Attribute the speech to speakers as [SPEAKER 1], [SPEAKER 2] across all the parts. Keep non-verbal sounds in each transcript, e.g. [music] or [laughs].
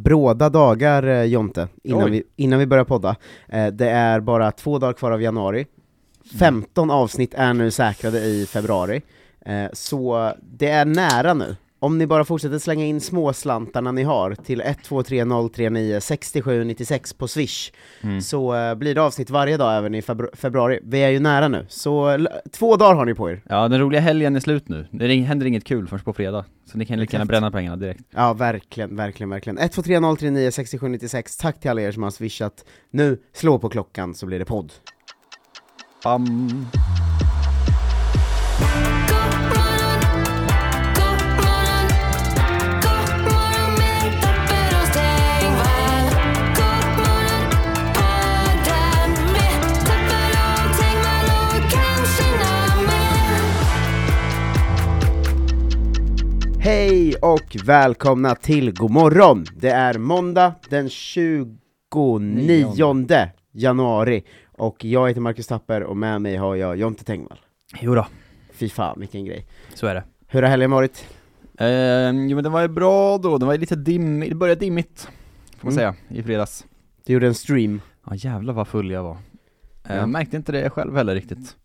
[SPEAKER 1] Bråda dagar, eh, Jonte, innan
[SPEAKER 2] Oj.
[SPEAKER 1] vi, innan vi börjar podda. Eh, det är bara två dagar kvar av januari. 15 avsnitt är nu säkrade i februari. Eh, så det är nära nu. Om ni bara fortsätter slänga in småslantarna ni har till 123039 6796 på swish,
[SPEAKER 2] Mm.
[SPEAKER 1] så eh, blir det avsnitt varje dag även i febru- februari. Vi är ju nära nu, så l- två dagar har ni på er.
[SPEAKER 2] Ja, den roliga helgen är slut nu. Det ring- händer inget kul förrän på fredag. Så ni kan lika gärna
[SPEAKER 1] Exakt.
[SPEAKER 2] bränna pengarna direkt.
[SPEAKER 1] Ja, verkligen, verkligen, verkligen. 1230396796, tack till alla er som har swishat. Nu, slå på klockan så blir det podd.
[SPEAKER 2] Bam!
[SPEAKER 1] Hej och välkomna till God morgon. Det är måndag den 29 januari och jag heter Marcus Tapper och med mig har jag Jonte Tengvall.
[SPEAKER 2] Jo då,
[SPEAKER 1] Fy fan vilken grej.
[SPEAKER 2] så är det.
[SPEAKER 1] Hur har helgen varit?
[SPEAKER 2] Ehm, jo men den var ju bra då, den var ju lite dimmig, det började dimmigt. Får man
[SPEAKER 1] Mm.
[SPEAKER 2] säga, i fredags.
[SPEAKER 1] Du gjorde en stream.
[SPEAKER 2] Ja jävlar vad full jag var. Ehm,
[SPEAKER 1] Ja.
[SPEAKER 2] Märkte inte det själv heller riktigt.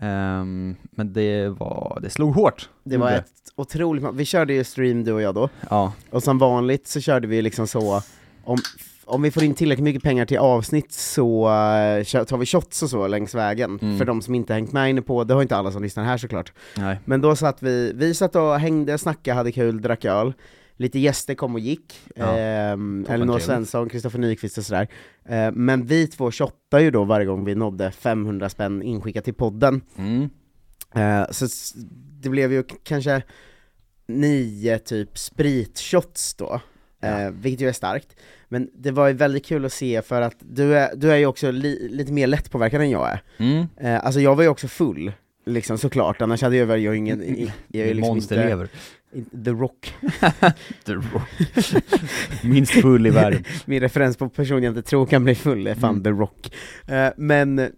[SPEAKER 2] Ehm, men det var, det slog hårt.
[SPEAKER 1] Det var
[SPEAKER 2] Gjorde
[SPEAKER 1] ett otroligt... Vi körde ju stream du och jag då.
[SPEAKER 2] Ja,
[SPEAKER 1] Och som vanligt så körde vi liksom så, om, om vi får in tillräckligt mycket pengar till avsnitt så eh, kö- tar vi shots och så längs vägen,
[SPEAKER 2] Mm.
[SPEAKER 1] för de som inte hängt med inne på, det har inte alla som lyssnar här såklart.
[SPEAKER 2] nej.
[SPEAKER 1] Men då satt vi, vi satt och hängde, snackade, hade kul, drack öl, lite gäster kom och gick,
[SPEAKER 2] Ja.
[SPEAKER 1] ehm,
[SPEAKER 2] Toppen
[SPEAKER 1] Elinor
[SPEAKER 2] trevligt.
[SPEAKER 1] Svensson, Kristoffer Nyqvist och sådär. Eh, men vi två shottade ju då varje gång vi nådde 500 spänn inskickat till podden.
[SPEAKER 2] Mm.
[SPEAKER 1] Eh, så s- det blev ju k- kanske nio typ spritshots då, eh, vilket ju är starkt. Men det var ju väldigt kul att se för att du är, du är ju också li, lite mer lättpåverkad än jag är.
[SPEAKER 2] Mm.
[SPEAKER 1] Eh, alltså jag var ju också full, liksom såklart, annars hade jag väl jag ingen... i- Jag är ju liksom inte,
[SPEAKER 2] Monsterlever.
[SPEAKER 1] inte The Rock.
[SPEAKER 2] The Rock. [laughs] Minst full i världen.
[SPEAKER 1] Min referens på person jag inte tror kan bli full är fan
[SPEAKER 2] Mm.
[SPEAKER 1] The Rock. Eh, men,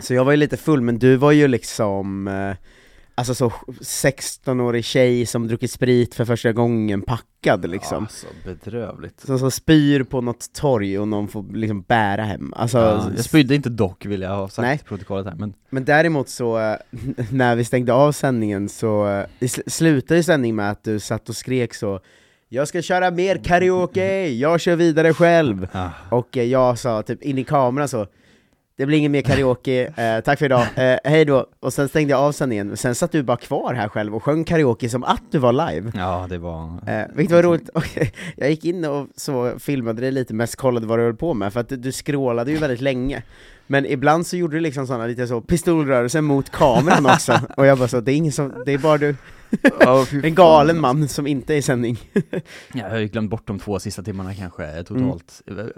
[SPEAKER 1] så jag var ju lite full, men du var ju liksom, eh, alltså så 16-årig tjej som druckit sprit för första gången packad liksom.
[SPEAKER 2] Alltså bedrövligt.
[SPEAKER 1] Som så spyr på något torg och någon får liksom bära hem. Alltså,
[SPEAKER 2] Ja, jag spydde inte dock vill jag ha sagt
[SPEAKER 1] Nej.
[SPEAKER 2] i protokollet här, men
[SPEAKER 1] Men däremot så, eh, [laughs] när vi stängde av sändningen så eh, i sl- slutade ju sändningen med att du satt och skrek så jag ska köra mer karaoke, jag kör vidare själv!
[SPEAKER 2] ah,
[SPEAKER 1] Och eh, jag sa typ in i kameran så Det blir ingen mer karaoke, eh, tack för idag, eh, hej då! Och sen stängde jag av sändningen, sen satt du bara kvar här själv och sjöng karaoke som att du var live
[SPEAKER 2] ja det var...
[SPEAKER 1] Eh, vilket var roligt, [laughs] Och jag gick in och så filmade dig lite, mest kollade vad du höll på med, för att du- du skrålade ju väldigt länge Men ibland så gjorde du liksom sådana lite så pistolrörelser mot
[SPEAKER 2] [laughs]
[SPEAKER 1] kameran också, och jag bara så, det är ingen som, det är bara du, en galen man som inte är i sändning
[SPEAKER 2] Ja, jag har ju glömt bort de två sista timmarna kanske eh, totalt. Mm. Det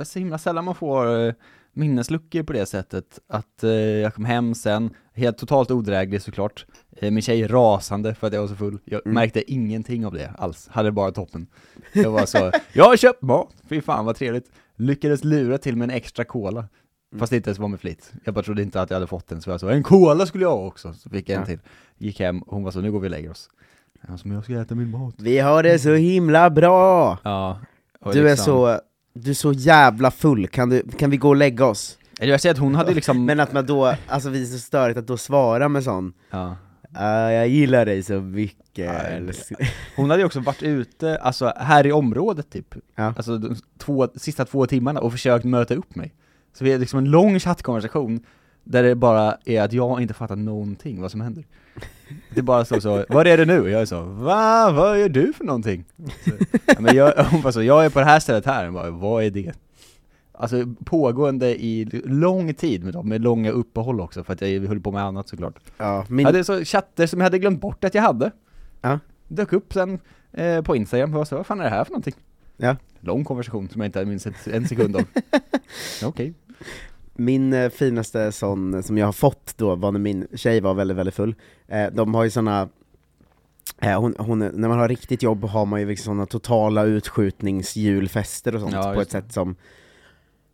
[SPEAKER 2] är så himla sällan man får eh, minnesluckor på det sättet. Att eh, jag kom hem sen, helt totalt odräglig såklart. Eh, Min tjej är rasande för att jag var så full. Jag
[SPEAKER 1] Mm.
[SPEAKER 2] märkte ingenting av det alls, hade bara toppen. Jag var så, [laughs] jag har köpt mat, fy fan vad trevligt. Lyckades lura till mig en extra cola.
[SPEAKER 1] Mm.
[SPEAKER 2] Fast det inte ens var med flit. Jag bara trodde inte att jag hade fått den, så jag sa en cola skulle jag ha också. Så fick jag en
[SPEAKER 1] Ja.
[SPEAKER 2] till. Gick hem, och hon var så, nu går vi och lägger oss. Jag var så, men jag ska äta min mat.
[SPEAKER 1] Vi har det så himla bra!
[SPEAKER 2] Ja. och
[SPEAKER 1] Du är
[SPEAKER 2] liksom-
[SPEAKER 1] så, du är så jävla full, kan, du, kan vi gå och lägga oss?
[SPEAKER 2] Eller jag säger att hon hade ju liksom,
[SPEAKER 1] Men att man då, alltså vi är så störigt att då svara med sån
[SPEAKER 2] ja.
[SPEAKER 1] "Ah, jag gillar dig så mycket
[SPEAKER 2] Ja,
[SPEAKER 1] älsk-"
[SPEAKER 2] hon hade ju också varit ute, alltså här i området typ,
[SPEAKER 1] Ja.
[SPEAKER 2] alltså de två, sista två timmarna och försökt möta upp mig. Så vi hade liksom en lång chattkonversation där det bara är att jag inte fattar någonting vad som händer. Det bara står så, var är det nu? Och jag är så, va? Vad gör du för någonting? Så, ja, men jag, hon bara så, jag är på det här stället här, jag bara, vad är det? Alltså pågående i lång tid med dem, med långa uppehåll också för att jag höll på med annat såklart.
[SPEAKER 1] Ja, min,
[SPEAKER 2] Ja, det är så chatter som jag hade glömt bort att jag hade.
[SPEAKER 1] Ja.
[SPEAKER 2] Dök upp sen eh, på Instagram och var så, vad fan är det här för någonting?
[SPEAKER 1] Ja.
[SPEAKER 2] Lång konversation som jag inte minns ett, en
[SPEAKER 1] [laughs]
[SPEAKER 2] sekund av. Ja, Okej.
[SPEAKER 1] min eh, finaste sån som jag har fått då var när min tjej var väldigt, väldigt full. Eh, de har ju såna, eh, hon, hon, när man har riktigt jobb har man ju liksom såna totala utskjutningsjulfester och sånt
[SPEAKER 2] Ja,
[SPEAKER 1] på ett
[SPEAKER 2] just
[SPEAKER 1] sätt som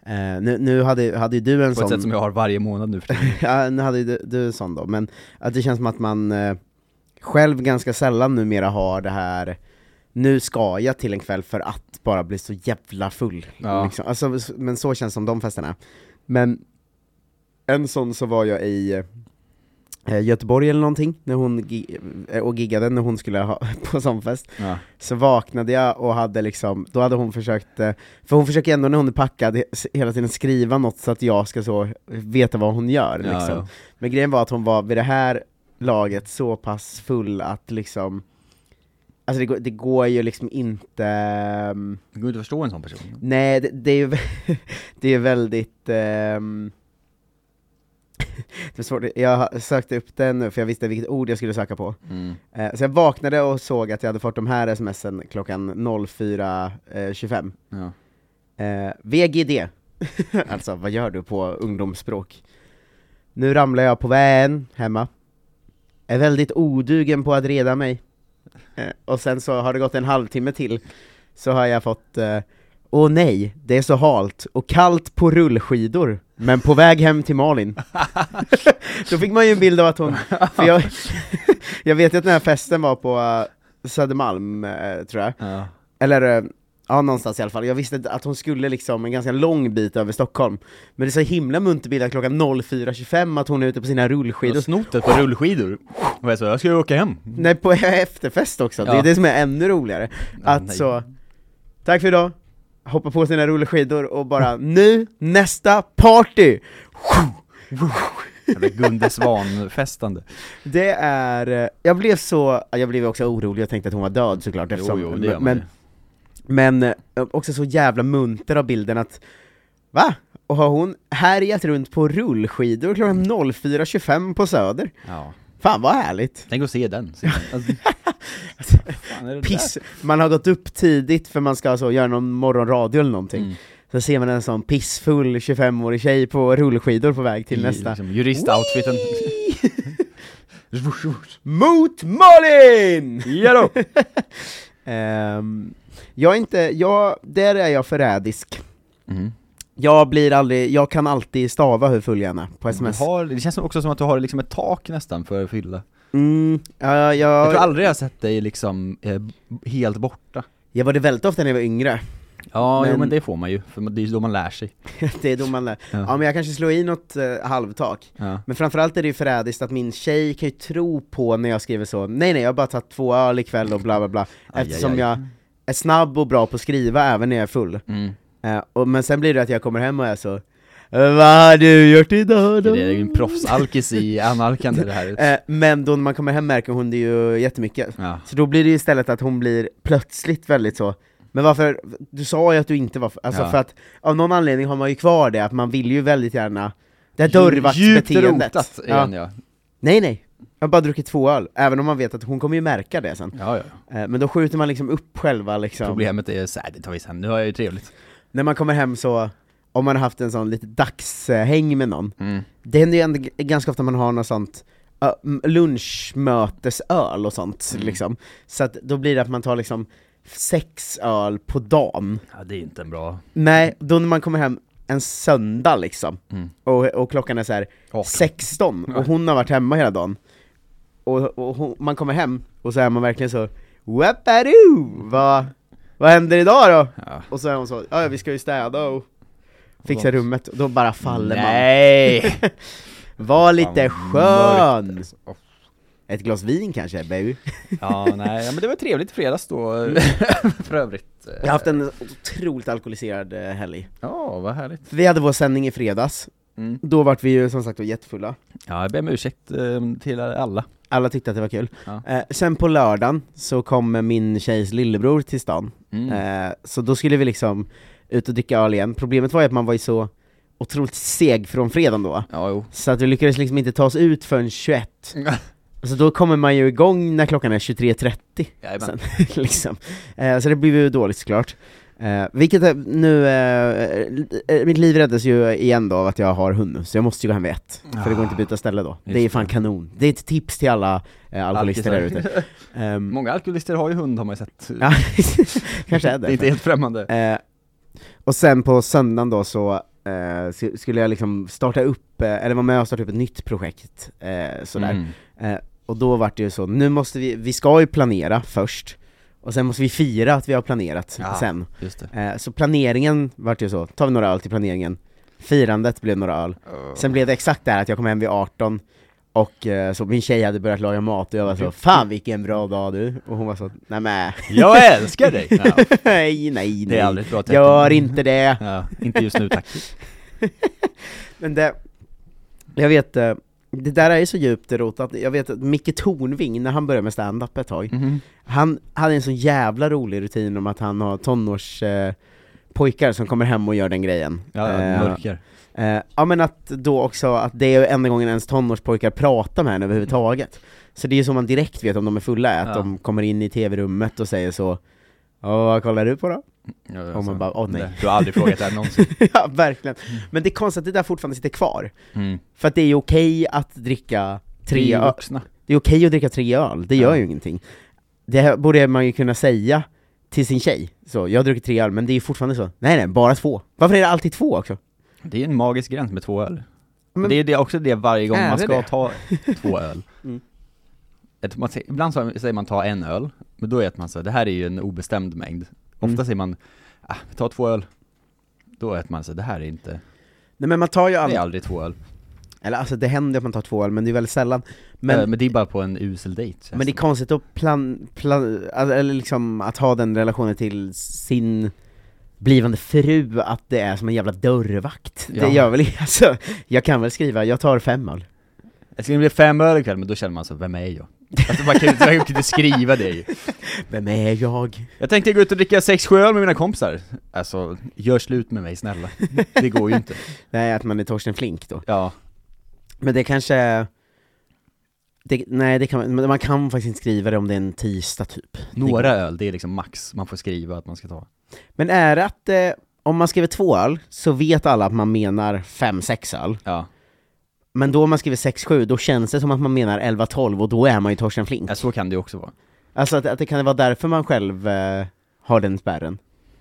[SPEAKER 1] eh, nu, nu hade, hade ju du en
[SPEAKER 2] På
[SPEAKER 1] sån
[SPEAKER 2] ett sätt som jag har varje månad nu för tiden.
[SPEAKER 1] [laughs] ja, nu hade ju du, du en sån då, men att det känns som att man eh, själv ganska sällan numera har det här nu ska jag till en kväll för att bara bli så jävla full.
[SPEAKER 2] Ja.
[SPEAKER 1] Liksom. Alltså, men så känns som de festerna. Men en sån så var jag i eh, Göteborg eller någonting, när hon gi- eh, och giggade när hon skulle ha [laughs] på sån fest.
[SPEAKER 2] Ja.
[SPEAKER 1] Så vaknade jag och hade liksom, då hade hon försökt, eh, för hon försöker ändå när hon är packad he- s- hela tiden skriva något så att jag ska så veta vad hon gör
[SPEAKER 2] Ja,
[SPEAKER 1] liksom.
[SPEAKER 2] ja.
[SPEAKER 1] Men grejen var att hon var vid det här laget så pass full att liksom, alltså det går, det går ju liksom inte, ehm,
[SPEAKER 2] Det går inte att förstå en sån person.
[SPEAKER 1] nej det, det är ju [laughs] det är väldigt ehm, [laughs] det är svårt, jag sökte upp den nu för jag visste vilket ord jag skulle söka på.
[SPEAKER 2] Mm.
[SPEAKER 1] Eh, Så jag vaknade och såg att jag hade fått de här smsen klockan 04.25.
[SPEAKER 2] Ja.
[SPEAKER 1] Eh, VGD. alltså, vad gör du på ungdomsspråk? Nu ramlar jag på vägen hemma. Är väldigt odugen på att reda mig. Eh, och sen så har det gått en halvtimme till, så har jag fått eh, Åh nej, det är så halt och kallt på rullskidor, men på väg hem till Malin. Då fick man ju en bild av att hon, för jag, [laughs] jag vet ju att den här festen var på eh, Södermalm, eh, tror jag.
[SPEAKER 2] Ja.
[SPEAKER 1] Eller, eh, ja någonstans i alla fall. Jag visste att hon skulle liksom en ganska lång bit över Stockholm. Men det är så himla muntert bild att klockan 04.25 att hon är ute på sina
[SPEAKER 2] Jag har
[SPEAKER 1] rullskidor.
[SPEAKER 2] snott ett par rullskidor. Och jag sa, jag ska ju åka hem.
[SPEAKER 1] Nej, på [laughs] efterfest också. Det
[SPEAKER 2] Ja.
[SPEAKER 1] är det som är ännu roligare. Att
[SPEAKER 2] nej.
[SPEAKER 1] så, tack för idag, hoppa på sina rullskidor och
[SPEAKER 2] [laughs]
[SPEAKER 1] bara nu, nästa party!
[SPEAKER 2] Eller
[SPEAKER 1] [laughs]
[SPEAKER 2] Gunde Svan-festande.
[SPEAKER 1] Det är, eh, jag blev så, jag blev också orolig och tänkte att hon var död såklart eftersom,
[SPEAKER 2] jo, jo, det gör man
[SPEAKER 1] men,
[SPEAKER 2] ju.
[SPEAKER 1] Men eh, också så jävla munter av bilden att Va? Och har hon härjat runt på rullskidor klockan 04.25 på Söder?
[SPEAKER 2] Ja.
[SPEAKER 1] Fan vad härligt!
[SPEAKER 2] Tänk att
[SPEAKER 1] [laughs]
[SPEAKER 2] se den. Se den. Alltså, vad fan är det där?
[SPEAKER 1] Piss! Man har gått upp tidigt för man ska så göra någon morgonradio eller någonting.
[SPEAKER 2] Mm.
[SPEAKER 1] Så ser man en sån pissfull 25-årig tjej på rullskidor på väg till
[SPEAKER 2] I
[SPEAKER 1] nästa. [laughs]
[SPEAKER 2] Liksom, juristoutfiten.
[SPEAKER 1] Mot Malin!
[SPEAKER 2] ja då!
[SPEAKER 1] Ehm, jag är inte, jag, där är jag förrädisk.
[SPEAKER 2] Mm.
[SPEAKER 1] Jag blir aldrig, jag kan alltid stava hur full jag än är på
[SPEAKER 2] Du
[SPEAKER 1] sms.
[SPEAKER 2] har, det känns som- också som att du har liksom ett tak nästan för fylla.
[SPEAKER 1] Mm, ja,
[SPEAKER 2] Jag
[SPEAKER 1] jag,
[SPEAKER 2] tror
[SPEAKER 1] jag,
[SPEAKER 2] aldrig jag har sett dig liksom eh, helt borta.
[SPEAKER 1] var det väldigt ofta när jag var yngre, [laughs]
[SPEAKER 2] Ja, men,
[SPEAKER 1] jo,
[SPEAKER 2] jo,
[SPEAKER 1] men
[SPEAKER 2] men det får man ju, för det är ju då man lär sig.
[SPEAKER 1] det är då man lär.
[SPEAKER 2] Ja.
[SPEAKER 1] Ja men jag kanske slår i något eh, halvtak.
[SPEAKER 2] Ja.
[SPEAKER 1] Men framförallt är det ju förrädiskt att min tjej kan ju tro på när jag skriver så, nej nej jag har bara tagit två öl ikväll och bla bla bla,
[SPEAKER 2] aj,
[SPEAKER 1] eftersom
[SPEAKER 2] aj.
[SPEAKER 1] jag är snabb och bra på att skriva även när jag är full.
[SPEAKER 2] Mm.
[SPEAKER 1] Eh, och, men sen blir det att jag kommer hem och är så, "Eh, vad har du gjort idag
[SPEAKER 2] Det
[SPEAKER 1] då?
[SPEAKER 2] är ju en proffsalkis i analkande det [laughs] här.
[SPEAKER 1] Eh, men då när man kommer hem märker hon det ju jättemycket.
[SPEAKER 2] Ja.
[SPEAKER 1] Så då blir det ju istället att hon blir plötsligt väldigt så men varför, du sa ju att du inte var, alltså
[SPEAKER 2] Ja.
[SPEAKER 1] för att av någon anledning har man ju kvar det, att man vill ju väldigt gärna det här
[SPEAKER 2] Djupt
[SPEAKER 1] dörrvaktsbeteendet.
[SPEAKER 2] rotat är
[SPEAKER 1] Ja.
[SPEAKER 2] den, ja.
[SPEAKER 1] Nej nej, jag har bara druckit två öl, även om man vet att hon kommer ju märka det sen.
[SPEAKER 2] Ja, ja.
[SPEAKER 1] Eh, Men då skjuter man liksom upp själva liksom,
[SPEAKER 2] Problemet är såhär, det tar vi sen, nu har jag ju trevligt.
[SPEAKER 1] när man kommer hem så, om man har haft en sån lite dagshäng med någon,
[SPEAKER 2] Mm.
[SPEAKER 1] det händer ju ändå g- ganska ofta man har något sånt ö, m- lunchmötesöl och sånt
[SPEAKER 2] Mm.
[SPEAKER 1] liksom, så att då blir det att man tar liksom sex öl på dagen.
[SPEAKER 2] Ja, det är inte en bra...
[SPEAKER 1] Nej, då när man kommer hem en söndag liksom,
[SPEAKER 2] Mm.
[SPEAKER 1] och, och klockan är så här 16, och hon har varit hemma hela dagen, och, och hon, man kommer hem, och så är man verkligen så Wapparoo! Vad, vad händer idag då?
[SPEAKER 2] Ja.
[SPEAKER 1] Och så är hon så, ja vi ska ju städa och fixa rummet, och då bara faller
[SPEAKER 2] [laughs] Nej!
[SPEAKER 1] man Var lite
[SPEAKER 2] Fan,
[SPEAKER 1] skön!
[SPEAKER 2] mörkt, alltså.
[SPEAKER 1] Ett glas vin kanske, baby?
[SPEAKER 2] Ja, nej, ja, men det var trevligt i fredags då, [laughs] för övrigt.
[SPEAKER 1] Jag har haft en otroligt alkoholiserad eh, helg.
[SPEAKER 2] Ja, vad härligt.
[SPEAKER 1] Vi hade vår sändning i fredags,
[SPEAKER 2] Mm.
[SPEAKER 1] då vart vi ju som sagt var jättefulla
[SPEAKER 2] Ja, jag ber om ursäkt eh, till alla.
[SPEAKER 1] ehm, alla tyckte att det var kul.
[SPEAKER 2] Ja.
[SPEAKER 1] Eh, sen på lördagen så kom min tjejs lillebror till stan,
[SPEAKER 2] Mm.
[SPEAKER 1] eh, så då skulle vi liksom ut och dricka öl igen. Problemet var ju att man var ju så otroligt seg från fredagen då, [laughs]
[SPEAKER 2] Ja, jo.
[SPEAKER 1] så att vi lyckades liksom inte ta oss ut förrän 21. Så då kommer man ju igång när klockan är 23.30
[SPEAKER 2] Jajamän.
[SPEAKER 1] sen, [laughs] liksom. eh, Så det blev ju dåligt såklart. Eh, vilket är, nu, eh, eh, mitt liv räddas ju igen då av att jag har hund nu, så jag måste ju gå hem vid ett, för det går inte att byta ställe då. Det är ju fan kanon. Det är ett tips till alla eh, alkoholister där ute. Ehm,
[SPEAKER 2] [laughs] Många alkoholister har ju hund har man ju sett.
[SPEAKER 1] ja, [laughs] kanske är
[SPEAKER 2] [laughs] det är
[SPEAKER 1] det.
[SPEAKER 2] inte helt främmande.
[SPEAKER 1] Eh, och sen på söndagen då så eh, sk- skulle jag liksom starta upp, eh, eller vara med och starta upp ett nytt projekt, eh, sådär.
[SPEAKER 2] Mm.
[SPEAKER 1] Eh, och då vart det ju så, nu måste vi, vi ska ju planera först, och sen måste vi fira att vi har planerat
[SPEAKER 2] Ja.
[SPEAKER 1] sen.
[SPEAKER 2] Just det.
[SPEAKER 1] Eh, så planeringen vart ju så, tar vi några öl till planeringen, firandet blev några öl. Sen blev det exakt det här att jag kom hem vid 18 och eh, så min tjej hade börjat laga mat och jag var så 'Fan vilken bra dag du' och hon var så 'Nej men,
[SPEAKER 2] [laughs]
[SPEAKER 1] [laughs]
[SPEAKER 2] Jag älskar dig! Ja,
[SPEAKER 1] nej nej
[SPEAKER 2] [laughs] det är
[SPEAKER 1] nej,
[SPEAKER 2] aldrig ett bra tecken.
[SPEAKER 1] gör inte det'
[SPEAKER 2] [laughs] Ja, inte just [laughs] nu tack.
[SPEAKER 1] Men det, jag vet, eh, det där är ju så djupt rotat, jag vet att Micke Tornving, när han började med stand-up ett tag,
[SPEAKER 2] Mhm.
[SPEAKER 1] han hade en så jävla rolig rutin om att han har tonårs eh, pojkar som kommer hem och gör den grejen.
[SPEAKER 2] Ja, ja,
[SPEAKER 1] Eh,
[SPEAKER 2] mörker.
[SPEAKER 1] Eh, ja men att då också, att det är ju enda gången ens tonårspojkar pratar med en överhuvudtaget. Så det är ju så man direkt vet om de är fulla, är att
[SPEAKER 2] Ja.
[SPEAKER 1] de kommer in i tv-rummet och säger så Ja, vad kollar du på då? [laughs]
[SPEAKER 2] Ja,
[SPEAKER 1] man
[SPEAKER 2] så.
[SPEAKER 1] bara, åh, nej.
[SPEAKER 2] Det- Du har aldrig frågat det
[SPEAKER 1] [laughs]
[SPEAKER 2] här någonsin.
[SPEAKER 1] ja, verkligen. Men det är konstigt att det där fortfarande sitter kvar.
[SPEAKER 2] Mm.
[SPEAKER 1] För att det är ju okej att dricka tre
[SPEAKER 2] Vi
[SPEAKER 1] öl.
[SPEAKER 2] vuxna.
[SPEAKER 1] Det är okej att dricka tre öl, det gör
[SPEAKER 2] Ja.
[SPEAKER 1] ju ingenting. Det här borde man ju kunna säga till sin tjej. Så, jag har druckit tre öl, men det är ju fortfarande så. Nej nej, bara två. Varför är det alltid två också?
[SPEAKER 2] Det är ju en magisk gräns med två öl.
[SPEAKER 1] Men-
[SPEAKER 2] det är det också det varje gång
[SPEAKER 1] Är
[SPEAKER 2] man
[SPEAKER 1] det
[SPEAKER 2] ska
[SPEAKER 1] det? [laughs]
[SPEAKER 2] ta två öl.
[SPEAKER 1] Mm.
[SPEAKER 2] Att man, säger- ibland så säger man ta en öl, men då är att man så här, det här är ju en obestämd mängd. Ofta
[SPEAKER 1] Mm.
[SPEAKER 2] säger man, ah, vi tar två öl. Då är att man så här, det här är inte,
[SPEAKER 1] Nej men man tar ju
[SPEAKER 2] det är
[SPEAKER 1] aldrig,
[SPEAKER 2] aldrig två öl.
[SPEAKER 1] eller alltså det händer ju att man tar två öl, men det är väldigt sällan.
[SPEAKER 2] Men,
[SPEAKER 1] Men,
[SPEAKER 2] Eh, men det är bara på en usel dejt. känns
[SPEAKER 1] men det är konstigt att plan, plan, alltså, eller liksom att ha den relationen till sin blivande fru, att det är som en jävla dörrvakt.
[SPEAKER 2] Ja.
[SPEAKER 1] Det gör väl [laughs] alltså, jag kan väl skriva, jag tar fem öl.
[SPEAKER 2] Jag skulle bli fem öl ikväll, men då känner man så, vem är jag? Alltså man kan ju inte- man kan ju inte skriva det ju.
[SPEAKER 1] [laughs] Vem är jag?
[SPEAKER 2] Jag tänkte gå ut och dricka sex, sju öl med mina kompisar. Alltså, gör slut med mig snälla. Det går
[SPEAKER 1] [laughs]
[SPEAKER 2] ju inte.
[SPEAKER 1] Nej, att man är Torsten Flink då.
[SPEAKER 2] Ja,
[SPEAKER 1] Men det kanske... Det, nej, det kan, man- men man kan faktiskt inte skriva det om det är en tisdag typ.
[SPEAKER 2] några öl, det är liksom max man får skriva att man ska ta.
[SPEAKER 1] Men är det att eh, om man skriver två öl så vet alla att man menar fem, sex öl.
[SPEAKER 2] Ja.
[SPEAKER 1] Men då om man skriver sex, sju, då känns det som att man menar elva, tolv och då är man ju Torsten Flink.
[SPEAKER 2] Ja, så kan det ju också vara.
[SPEAKER 1] Alltså att, att det kan vara därför man själv eh, har den spärren.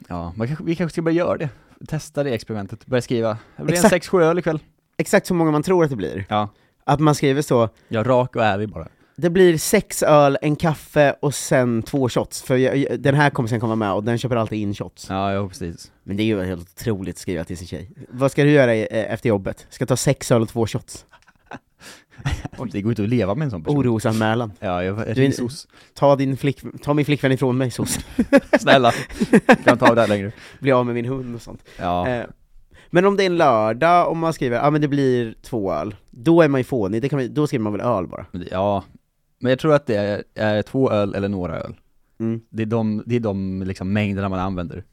[SPEAKER 2] Ja, man kanske, vi kanske ska börja göra det. Testa det experimentet, börja skriva. Det blir
[SPEAKER 1] Exakt.
[SPEAKER 2] en 6-7 öl ikväll.
[SPEAKER 1] Exakt så många man tror att det blir.
[SPEAKER 2] Ja.
[SPEAKER 1] Att man skriver så,
[SPEAKER 2] Jag är rak och ärlig bara.
[SPEAKER 1] det blir sex öl, en kaffe och sen två shots. För jag, jag- den här kompisen kommer med och den köper alltid in shots.
[SPEAKER 2] Ja, jo precis.
[SPEAKER 1] Men det är ju helt otroligt att skriva till sin tjej. Vad ska du göra eh, efter jobbet? Ska ta sex öl och två shots?
[SPEAKER 2] Det går inte att leva med en sån person.
[SPEAKER 1] Orosanmälan.
[SPEAKER 2] Ja, jag
[SPEAKER 1] Du är
[SPEAKER 2] du
[SPEAKER 1] en-
[SPEAKER 2] är sos.
[SPEAKER 1] Ta, din flick, ta min flickvän ifrån mig, sos.
[SPEAKER 2] [laughs] Snälla, kan jag ta det här längre?
[SPEAKER 1] Bli av med min hund och sånt.
[SPEAKER 2] Ja.
[SPEAKER 1] Eh, men om det är en lördag och man skriver ah, men det blir två öl, då är man ju fånig, det kan man, då skriver man väl öl bara?
[SPEAKER 2] Men det- ja. Men jag tror att det är, är två öl eller några öl.
[SPEAKER 1] Mm.
[SPEAKER 2] Det är de, det är de liksom mängderna man använder.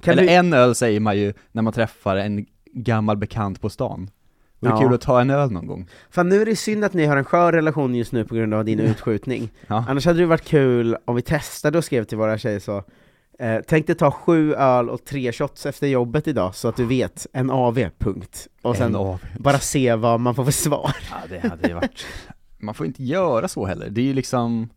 [SPEAKER 1] Kan
[SPEAKER 2] eller
[SPEAKER 1] du,
[SPEAKER 2] en öl säger man ju när man träffar en gammal bekant på stan. Det är
[SPEAKER 1] Ja.
[SPEAKER 2] kul att ta en öl någon gång.
[SPEAKER 1] fan nu är det synd att ni har en skör relation just nu på grund av din utskjutning.
[SPEAKER 2] Ja.
[SPEAKER 1] Annars hade det varit kul om vi testade och skrev till våra tjejer så, eh, tänk dig ta sju öl och tre shots efter jobbet idag så att du vet, en AV, punkt. Och sen,
[SPEAKER 2] en av.
[SPEAKER 1] bara se vad man får för svar.
[SPEAKER 2] Ja, det hade ju varit... [laughs] Man får inte göra så heller. Det är ju liksom...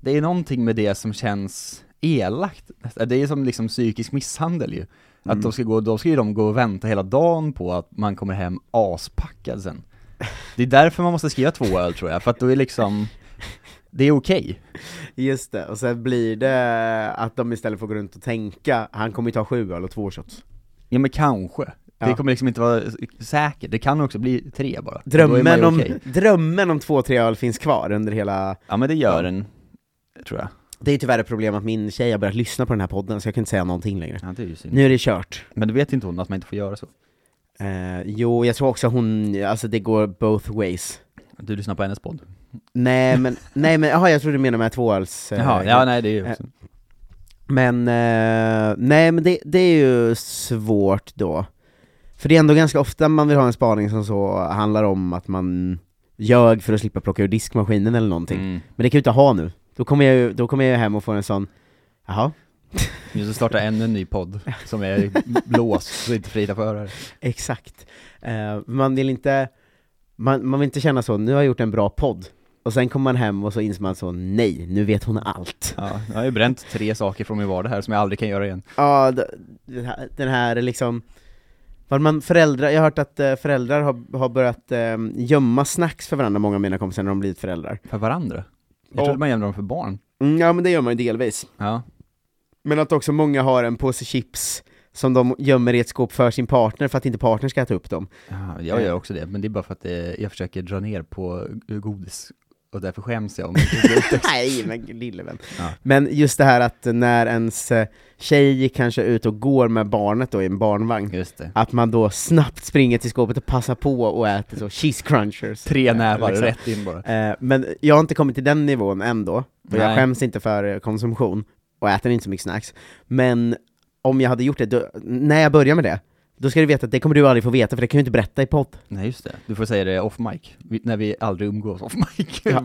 [SPEAKER 2] Det är någonting med det som känns elakt. Det är som liksom psykisk misshandel ju. Att de ska gå, de ska ju de gå och vänta hela dagen på att man kommer hem aspackad sen. Det är därför man måste skriva två öl tror jag, för att då är liksom... Det är okej.
[SPEAKER 1] Just det, och sen blir det att de istället får gå runt och tänka, han kommer ju ta sju öl och två shots.
[SPEAKER 2] Ja men kanske.
[SPEAKER 1] Ja.
[SPEAKER 2] Det kommer liksom inte vara säkert, det kan också bli tre bara. Då är man ju
[SPEAKER 1] Drömmen om,
[SPEAKER 2] okej.
[SPEAKER 1] drömmen om två, tre öl finns kvar under hela...
[SPEAKER 2] Ja men det gör den, tror jag.
[SPEAKER 1] Det är tyvärr ett problem att min tjej har börjat lyssna på den här podden, så jag kan inte säga någonting längre.
[SPEAKER 2] Ja, det är ju synd.
[SPEAKER 1] Nu är det kört.
[SPEAKER 2] Men du vet inte hon att man inte får göra så?
[SPEAKER 1] Eh, jo, jag tror också hon, alltså det går both ways.
[SPEAKER 2] Du lyssnar på hennes podd?
[SPEAKER 1] Nej
[SPEAKER 2] [laughs]
[SPEAKER 1] men, nej men, jaha jag tror du menar med tvåöls... eh,
[SPEAKER 2] Jaha, ja nej det är ju
[SPEAKER 1] eh,
[SPEAKER 2] också.
[SPEAKER 1] Men, eh, nej men det, det är ju svårt då. För det är ändå ganska ofta man vill ha en spaning som så handlar om att man ljög för att slippa plocka ur diskmaskinen eller någonting.
[SPEAKER 2] Mm.
[SPEAKER 1] Men det kan jag ju inte ha nu. Då kommer jag ju, då kommer jag ju hem och får en sån, jaha,
[SPEAKER 2] Just att starta ännu en ny podd som är låst, så inte Frida får höra det.
[SPEAKER 1] exakt. Eh, man vill inte, man, man vill inte känna så, nu har jag gjort en bra podd. Och sen kommer man hem och så inser man så, nej, nu vet hon allt.
[SPEAKER 2] Ja, jag har ju bränt tre saker från min vardag här som jag aldrig kan göra igen.
[SPEAKER 1] Ja, d- den här- den här liksom vad man föräldrar, jag har hört att eh, föräldrar har, har börjat eh, gömma snacks för varandra, många av mina kompisar, när de blivit föräldrar.
[SPEAKER 2] För varandra? Jag
[SPEAKER 1] Ja.
[SPEAKER 2] trodde man gömde dem för barn.
[SPEAKER 1] Mm, ja men det gör man ju delvis.
[SPEAKER 2] Ja.
[SPEAKER 1] Men att också många har en påse chips som de gömmer i ett skåp för sin partner för att inte partnern ska äta upp dem.
[SPEAKER 2] Ja, jag gör också det, men det är bara för att eh, jag försöker dra ner på eh, godis och därför
[SPEAKER 1] [laughs]
[SPEAKER 2] skäms jag om det.
[SPEAKER 1] Nej men lille vän.
[SPEAKER 2] Ja.
[SPEAKER 1] Men just det här att när ens eh, tjej gick kanske ut och går med barnet då i en barnvagn,
[SPEAKER 2] Just det.
[SPEAKER 1] att man då snabbt springer till skåpet och passar på och äter så cheese crunchers.
[SPEAKER 2] Tre
[SPEAKER 1] Eh,
[SPEAKER 2] nävar
[SPEAKER 1] liksom.
[SPEAKER 2] rätt in bara.
[SPEAKER 1] Eh, Men jag har inte kommit till den nivån ändå, och jag
[SPEAKER 2] Nej.
[SPEAKER 1] skäms inte för eh, konsumtion, och äter inte så mycket snacks. Men om jag hade gjort det, då, när jag börjar med det, då ska du veta att det kommer du aldrig få veta, för det kan jag inte berätta i podd. [laughs]
[SPEAKER 2] Nej just det, du får säga det off mic, vi, när vi aldrig umgås off mic. Ja.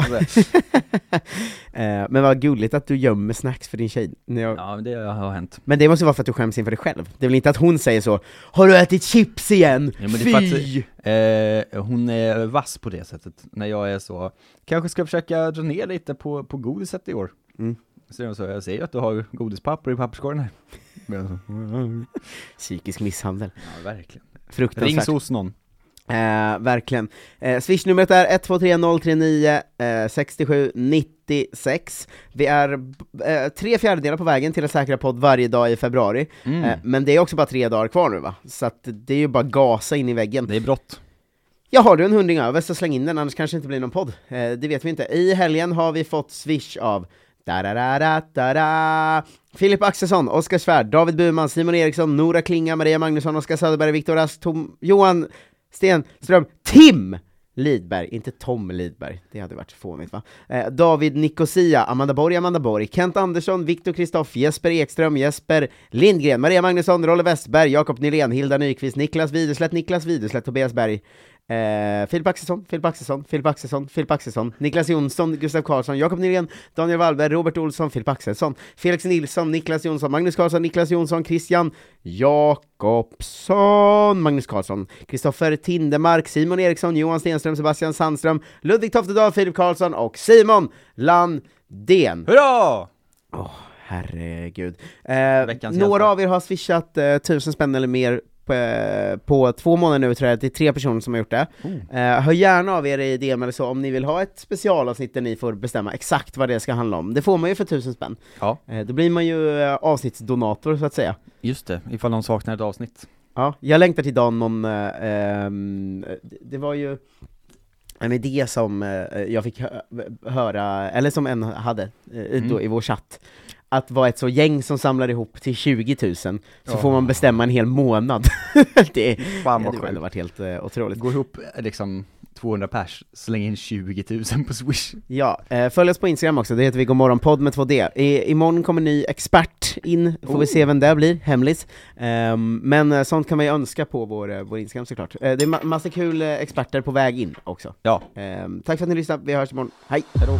[SPEAKER 1] Eh, Men vad gulligt att du gömmer snacks för din tjej. När jag,
[SPEAKER 2] [laughs] ja men det har hänt.
[SPEAKER 1] Men det måste vara för att du skäms inför dig själv. Det är väl inte att hon säger så 'Har du ätit chips igen?
[SPEAKER 2] Ja, men det är
[SPEAKER 1] Fy!'
[SPEAKER 2] för Eh, hon är vass på det sättet, när jag är så, kanske ska försöka dra ner lite på, på godiset i år.
[SPEAKER 1] Mm.
[SPEAKER 2] Så är hon så, jag ser ju att du har godispapper i papperskorgen här. Men så,
[SPEAKER 1] [laughs] Psykisk misshandel.
[SPEAKER 2] ja verkligen. Ring
[SPEAKER 1] Fruktansvärt.
[SPEAKER 2] hos någon.
[SPEAKER 1] Eh, verkligen. Eh, Swish-numret är 123039 eh, 67 96. Vi är b- eh, tre fjärdedelar på vägen till att säkra podd varje dag i februari.
[SPEAKER 2] Mm.
[SPEAKER 1] Eh, men det är också bara tre dagar kvar nu va? Så att det är ju bara gasa in i väggen.
[SPEAKER 2] Det är brott.
[SPEAKER 1] Ja, har du en hundring över så släng in den, annars kanske det inte blir någon podd. Eh, det vet vi inte. I helgen har vi fått swish av da-da-da-da-da. Filip Axelsson, Oskar Svärd, David Burman, Simon Eriksson, Nora Klinga, Maria Magnusson, Oskar Söderberg, Viktor Ask, Tom, Johan Stenström, Tim Lidberg, inte Tom Lidberg, det hade varit fånigt va? Eh, David Nicosia, Amanda Borg, Amanda Borg, Kent Andersson, Viktor Kristoff, Jesper Ekström, Jesper Lindgren, Maria Magnusson, Rolle Westberg, Jakob Nylén, Hilda Nyqvist, Niklas Widerslätt, Niklas Widerslätt, Tobias Berg, Eh, Filip Axelsson, Filip Axelsson, Filip Axelsson, Filip Axelsson, Niklas Jonsson, Gustav Karlsson, Jakob Nylén, Daniel Wallberg, Robert Olsson, Filip Axelsson, Felix Nilsson, Niklas Jonsson, Magnus Karlsson, Niklas Jonsson, Christian Jakobsson, Magnus Karlsson, Kristoffer Tindemark, Simon Eriksson, Johan Stenström, Sebastian Sandström, Ludvig Toftedal, Filip Karlsson och Simon Landén.
[SPEAKER 2] Hurra!
[SPEAKER 1] Åh, herregud. Eh,
[SPEAKER 2] Veckans
[SPEAKER 1] några
[SPEAKER 2] hjälte.
[SPEAKER 1] av er har swishat eh, tusen spänn eller mer på, eh, på två månader nu tror jag, det är tre personer som har gjort det.
[SPEAKER 2] Oh.
[SPEAKER 1] Eh, hör gärna av er i DM eller så om ni vill ha ett specialavsnitt där ni får bestämma exakt vad det ska handla om. Det får man ju för tusen spänn.
[SPEAKER 2] Ja,
[SPEAKER 1] Eh, då blir man ju eh, avsnittsdonator så att säga.
[SPEAKER 2] just det, ifall någon saknar ett avsnitt.
[SPEAKER 1] Ja, jag längtar till dagen någon, eh, ehm, det- det var ju en idé som eh, jag fick hö- höra, eller som en hade eh, då,
[SPEAKER 2] Mm.
[SPEAKER 1] i vår chatt, att vara ett så gäng som samlar ihop till 20 000, så
[SPEAKER 2] Ja.
[SPEAKER 1] får man bestämma en hel månad. [laughs] det
[SPEAKER 2] Fan
[SPEAKER 1] ja,
[SPEAKER 2] vad
[SPEAKER 1] det hade
[SPEAKER 2] sjukt.
[SPEAKER 1] varit helt eh, otroligt.
[SPEAKER 2] Gå ihop eh, liksom 200 pers, släng in 20 000 på Swish.
[SPEAKER 1] Ja, eh, följ oss på Instagram också, det heter vi Godmorgonpodd med 2D. I, imorgon kommer ny expert in, får vi se vem det blir, hemligt. Ehm, men eh, sånt kan man ju önska på vår, eh, vår Instagram såklart. Eh, det är ma- massa kul eh, experter på väg in också.
[SPEAKER 2] Ja.
[SPEAKER 1] Ehm, tack för att ni lyssnade, vi hörs imorgon. Hej!
[SPEAKER 2] Hejdå.